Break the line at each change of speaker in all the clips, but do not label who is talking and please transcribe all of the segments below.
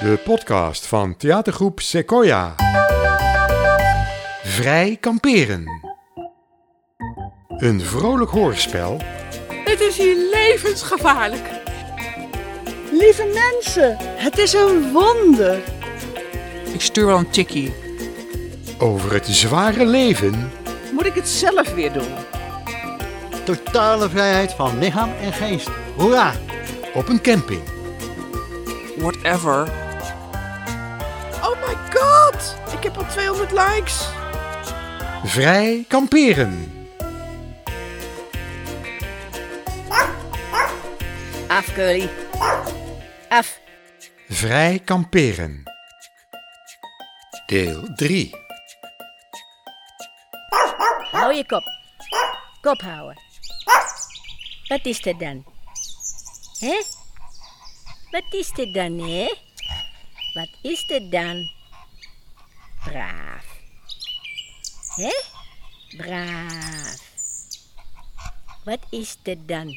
De podcast van theatergroep Sequoia. Vrij kamperen. Een vrolijk hoorspel
Het is hier levensgevaarlijk.
Lieve mensen, het is een wonder.
Ik stuur wel een tikkie.
over het zware leven
Moet ik het zelf weer doen?
Totale vrijheid van lichaam en geest. Hoera!
op een camping.
Whatever.
Oh my god, ik heb al 200 likes.
Vrij kamperen.
Af, Curly. Af.
Vrij kamperen. Deel 3.
Hou je kop. Kop houden. Wat is dit dan? Hè? Wat is dit dan, hè? Wat is dit dan? Braaf. Hè? Braaf. Wat is dit dan?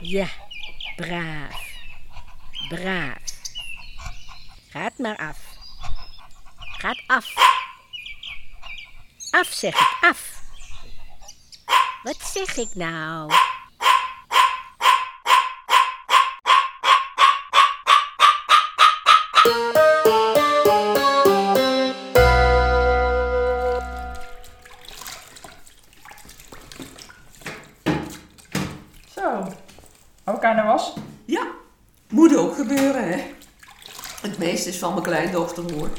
Ja, braaf. Braaf. Gaat maar af. Gaat af. Af zeg ik, af. Wat zeg ik nou?
Zo. Ook aan de was?
Ja, moet ook gebeuren, hè. Het meeste is van mijn kleindochter, hoor.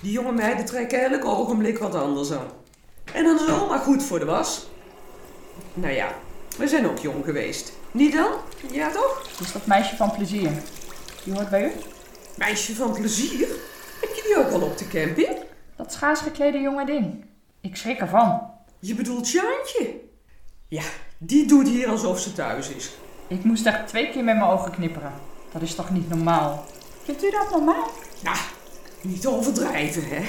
Die jonge meiden trekken elk ogenblik wat anders aan. En dan is oma goed voor de was. Nou ja, we zijn ook jong geweest. Niet dan? Ja, toch?
Dus dat meisje van plezier. Die hoort bij u?
Meisje van plezier. Heb je die ook al op de camping?
Dat schaars geklede jonge ding. Ik schrik ervan.
Je bedoelt Sjaantje? Ja, die doet hier alsof ze thuis is.
Ik moest echt twee keer met mijn ogen knipperen. Dat is toch niet normaal? Vindt u dat normaal?
Nou, niet overdrijven, hè.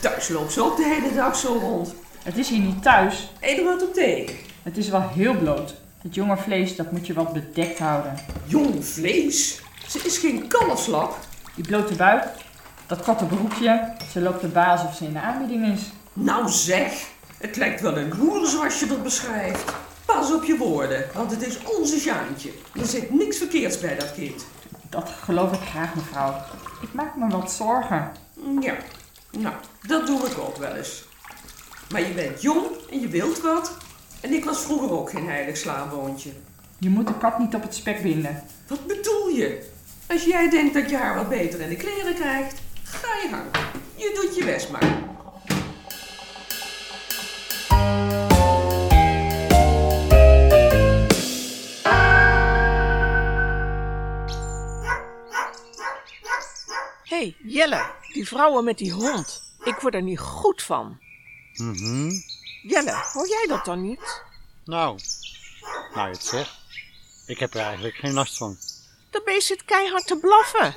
Thuis loopt ze ook de hele dag zo rond.
Het is hier niet thuis.
Helemaal op tegen.
Het is wel heel bloot. Dat jonge vlees, dat moet je wat bedekt houden.
Jong vlees. Ze is geen kalfslap.
Die blote buik, dat korte broekje. Ze loopt de baas of ze in de aanbieding is.
Nou zeg, het lijkt wel een loer zoals je dat beschrijft. Pas op je woorden, want het is onze Sjaantje. Er zit niks verkeerds bij dat kind.
Dat geloof ik graag, mevrouw. Ik maak me wat zorgen.
Ja, nou, dat doe ik ook wel eens. Maar je bent jong en je wilt wat. En ik was vroeger ook geen heilig slaapwoontje.
Je moet de kat niet op het spek binden.
Wat bedoel je? Als jij denkt dat je haar wat beter in de kleren krijgt, ga je gang. Je doet je best maar.
Hé, hey, Jelle, die vrouwen met die hond. Ik word er niet goed van. Jelle, hoor jij dat dan niet?
Nou, nou je het zegt. Ik heb er eigenlijk geen last van.
Dat beest zit keihard te blaffen.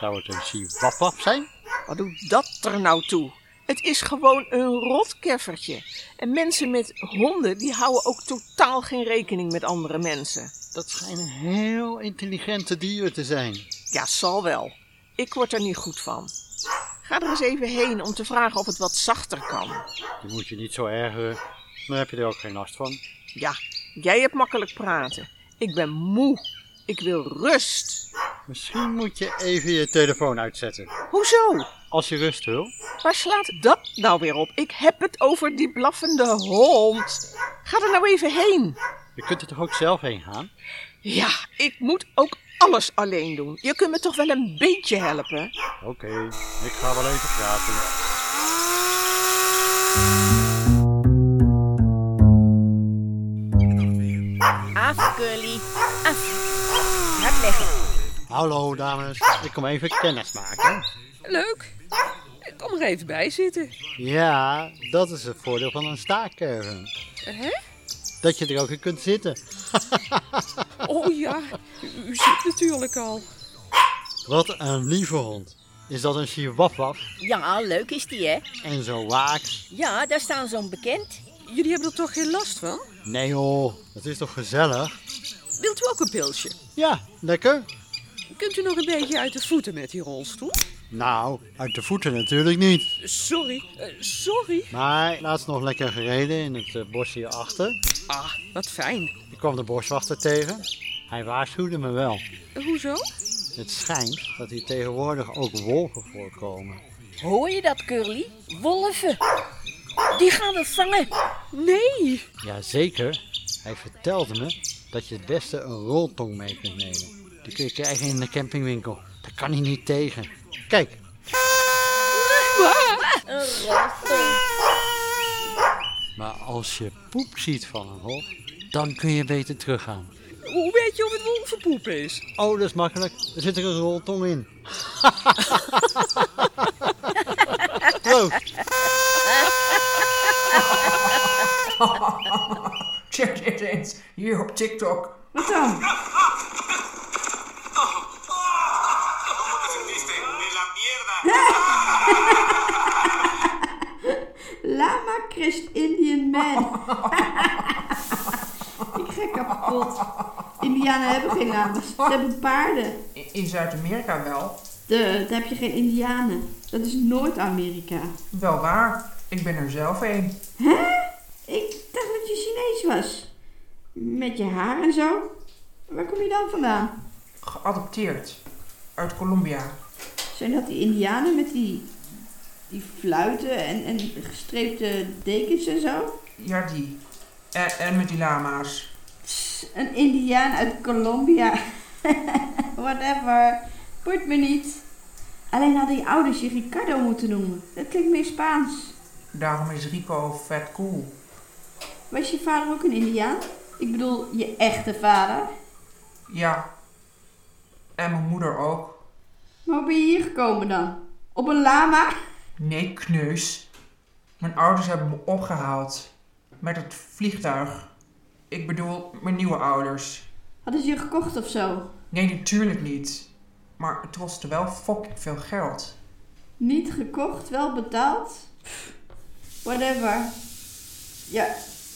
Zou het een chihuahua zijn?
Wat doet dat er nou toe? Het is gewoon een rotkeffertje. En mensen met honden, die houden ook totaal geen rekening met andere mensen.
Dat schijnen heel intelligente dieren te zijn.
Ja, zal wel. Ik word er niet goed van. Ga er eens even heen om te vragen of het wat zachter kan.
Die moet je niet zo ergeren. Dan heb je er ook geen last van.
Ja, jij hebt makkelijk praten. Ik ben moe. Ik wil rust.
Misschien moet je even je telefoon uitzetten.
Hoezo?
Als je rust wil.
Waar slaat dat nou weer op? Ik heb het over die blaffende hond. Ga er nou even heen.
Je kunt er toch ook zelf heen gaan?
Ja, ik moet ook alles alleen doen. Je kunt me toch wel een beetje helpen?
Oké, ik ga wel even praten.
Af, Curly. Af. Hard leggen.
Hallo dames, Ah! ik kom even kennis maken.
Leuk. Kom er even bij zitten.
Ja, dat is het voordeel van een staakkerven.
Hè?
Dat je er ook in kunt zitten.
Oh ja, u zit natuurlijk al.
Wat een lieve hond. Is dat een chihuahua?
Ja, leuk is die, hè?
En zo waaks.
Ja, daar staan ze onbekend.
Jullie hebben er toch geen last van?
Nee joh, dat is toch gezellig?
Wilt u ook een pilsje?
Ja, lekker.
Kunt u nog een beetje uit de voeten met die rolstoel?
Nou, uit de voeten natuurlijk niet.
Sorry, eh, sorry.
Maar laatst nog lekker gereden in het eh, bos hierachter.
Ah, wat fijn.
Ik kwam de boswachter tegen. Hij waarschuwde me wel.
Eh, Hoezo?
Het schijnt dat hier tegenwoordig ook wolven voorkomen.
Hoor je dat, Curly? Wolven. Die gaan we vangen.
Nee.
Jazeker, hij vertelde me dat je het beste een roltong mee kunt nemen. Die kun je krijgen in de campingwinkel. Daar kan hij niet tegen. Kijk,
Een rolstoel.
maar als je poep ziet van een wolf, dan kun je beter teruggaan.
Hoe weet je of het wolvenpoep is?
Oh, dat is makkelijk. Er zit er een roltong in. Proost.
Check dit eens hier op TikTok.
Lama Christ Indian Man. Ik ga kapot. Indianen hebben geen lama's. Ze hebben paarden.
In- In Zuid-Amerika wel.
De, daar heb je geen Indianen. Dat is nooit Amerika.
Wel waar. Ik ben er zelf een.
Hè? Ik dacht dat je Chinees was. Met je haar en zo. Waar kom je dan vandaan?
Geadopteerd. Uit Colombia.
Zijn dat die Indianen met die, die fluiten en, en gestreepte dekens en zo?
Ja, die. En, en met die lama's.
Pss, een Indiaan uit Colombia. Whatever. Boeit me niet. Alleen hadden je ouders je Ricardo moeten noemen. Dat klinkt meer Spaans.
Daarom is Rico vet cool.
Was je vader ook een Indiaan? Ik bedoel, je echte vader.
Ja. En mijn moeder ook.
Maar hoe ben je hier gekomen dan? Op een lama?
Nee, kneus. Mijn ouders hebben me opgehaald. Met het vliegtuig. Ik bedoel, mijn nieuwe ouders.
Hadden ze je gekocht of zo?
Nee, natuurlijk niet. Maar het kostte wel fucking veel geld.
Niet gekocht, wel betaald? Pff, Whatever. Ja,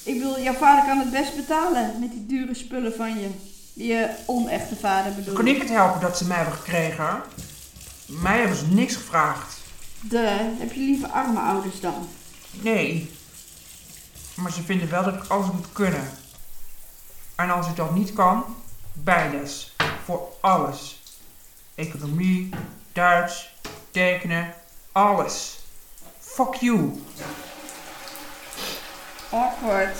ik bedoel, jouw vader kan het best betalen met die dure spullen van je. Die je onechte vader bedoelt.
Kon ik het helpen dat ze mij hebben gekregen? Mij hebben ze niks gevraagd.
De, heb je lieve arme ouders dan?
Nee. Maar ze vinden wel dat ik alles moet kunnen. En als ik dat niet kan, bijles. Voor alles. Economie, Duits, tekenen, alles. Fuck you.
Awkward.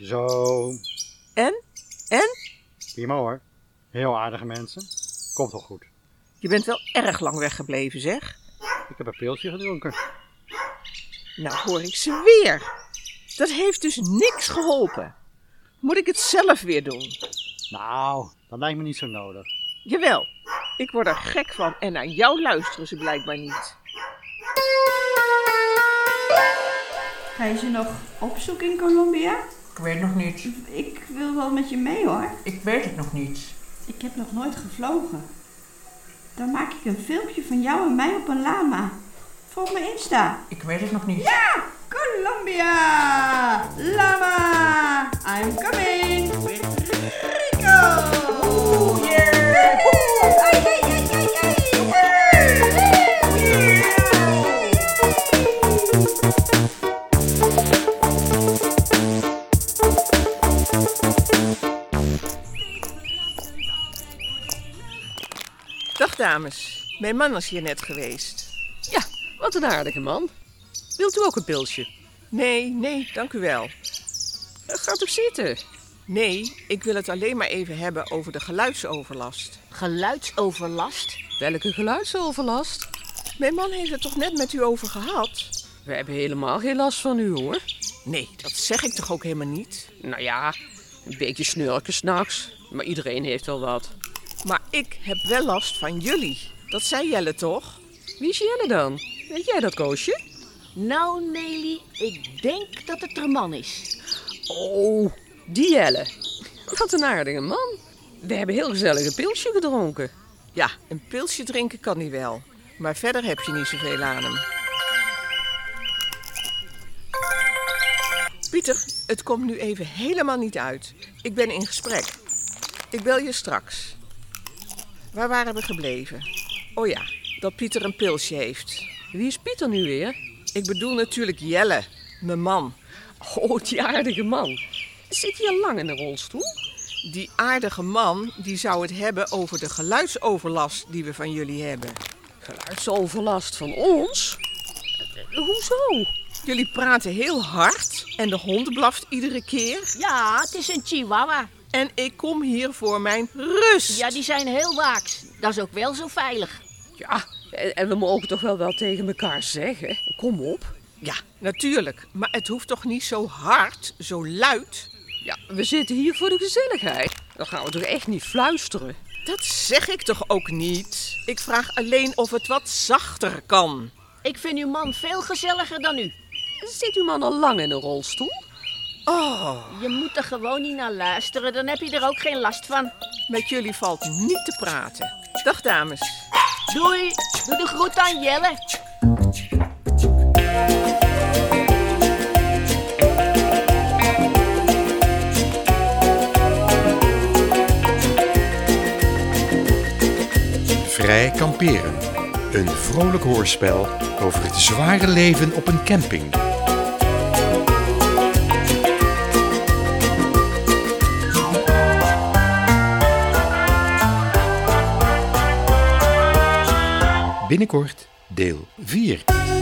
Zo,
En? En?
prima hoor. Heel aardige mensen. Komt wel goed.
Je bent wel erg lang weggebleven, zeg.
Ik heb een pilsje gedronken.
Nou hoor ik ze weer. Dat heeft dus niks geholpen. Moet ik het zelf weer doen?
Nou, dat lijkt me niet zo nodig.
Jawel, ik word er gek van en naar jou luisteren ze blijkbaar niet.
Ga je ze nog opzoeken in Colombia?
Ik weet nog niet.
Ik wil wel met je mee hoor.
Ik weet het nog niet.
Ik heb nog nooit gevlogen. Dan maak ik een filmpje van jou en mij op een lama. Volg mijn Insta.
Ik weet het nog niet.
Ja! Colombia! Lama! I'm coming! With Rico! Oeh, yeah! Hey, hey, hey, hey, hey. Hey, yeah.
Dag dames, mijn man was hier net geweest.
Ja, wat een aardige man. Wilt u ook een pilsje?
Nee, nee, dank u wel.
Eh, Gaat u zitten.
Nee, ik wil het alleen maar even hebben over de geluidsoverlast.
Geluidsoverlast? Welke geluidsoverlast?
Mijn man heeft het toch net met u over gehad?
We hebben helemaal geen last van u hoor.
Nee, dat zeg ik toch ook helemaal niet?
Nou ja, een beetje snurken s'nachts. Maar iedereen heeft wel wat.
Maar ik heb wel last van jullie. Dat zei Jelle toch?
Wie is Jelle dan? Weet jij dat, Koosje? Nou, Nelly, ik denk dat het er man is. Oh, die Jelle. Wat een aardige man. We hebben heel gezellig een pilsje gedronken.
Ja, een pilsje drinken kan hij wel. Maar verder heb je niet zoveel aan hem. Pieter, het komt nu even helemaal niet uit. Ik ben in gesprek. Ik bel je straks. Waar waren we gebleven? Oh ja, dat Pieter een pilsje heeft. Wie is Pieter nu weer? Ik bedoel natuurlijk Jelle, mijn man. Oh, die aardige man. Zit hij al lang in een rolstoel? Die aardige man die zou het hebben over de geluidsoverlast die we van jullie hebben. Geluidsoverlast van ons? Hoezo? Jullie praten heel hard en de hond blaft iedere keer.
Ja, het is een chihuahua.
En ik kom hier voor mijn rust.
Ja, die zijn heel waaks. Dat is ook wel zo veilig.
Ja, en, en we mogen toch wel wel tegen elkaar zeggen. Kom op.
Ja, natuurlijk. Maar het hoeft toch niet zo hard, zo luid?
Ja, we zitten hier voor de gezelligheid. Dan gaan we toch echt niet fluisteren.
Dat zeg ik toch ook niet? Ik vraag alleen of het wat zachter kan.
Ik vind uw man veel gezelliger dan u.
Zit uw man al lang in een rolstoel?
Oh,
Je moet er gewoon niet naar luisteren, dan heb je er ook geen last van.
met jullie valt niet te praten. Dag dames.
Doei, doe de groet aan Jelle.
Vrij kamperen. Een vrolijk hoorspel over het zware leven op een camping. Binnenkort deel 4.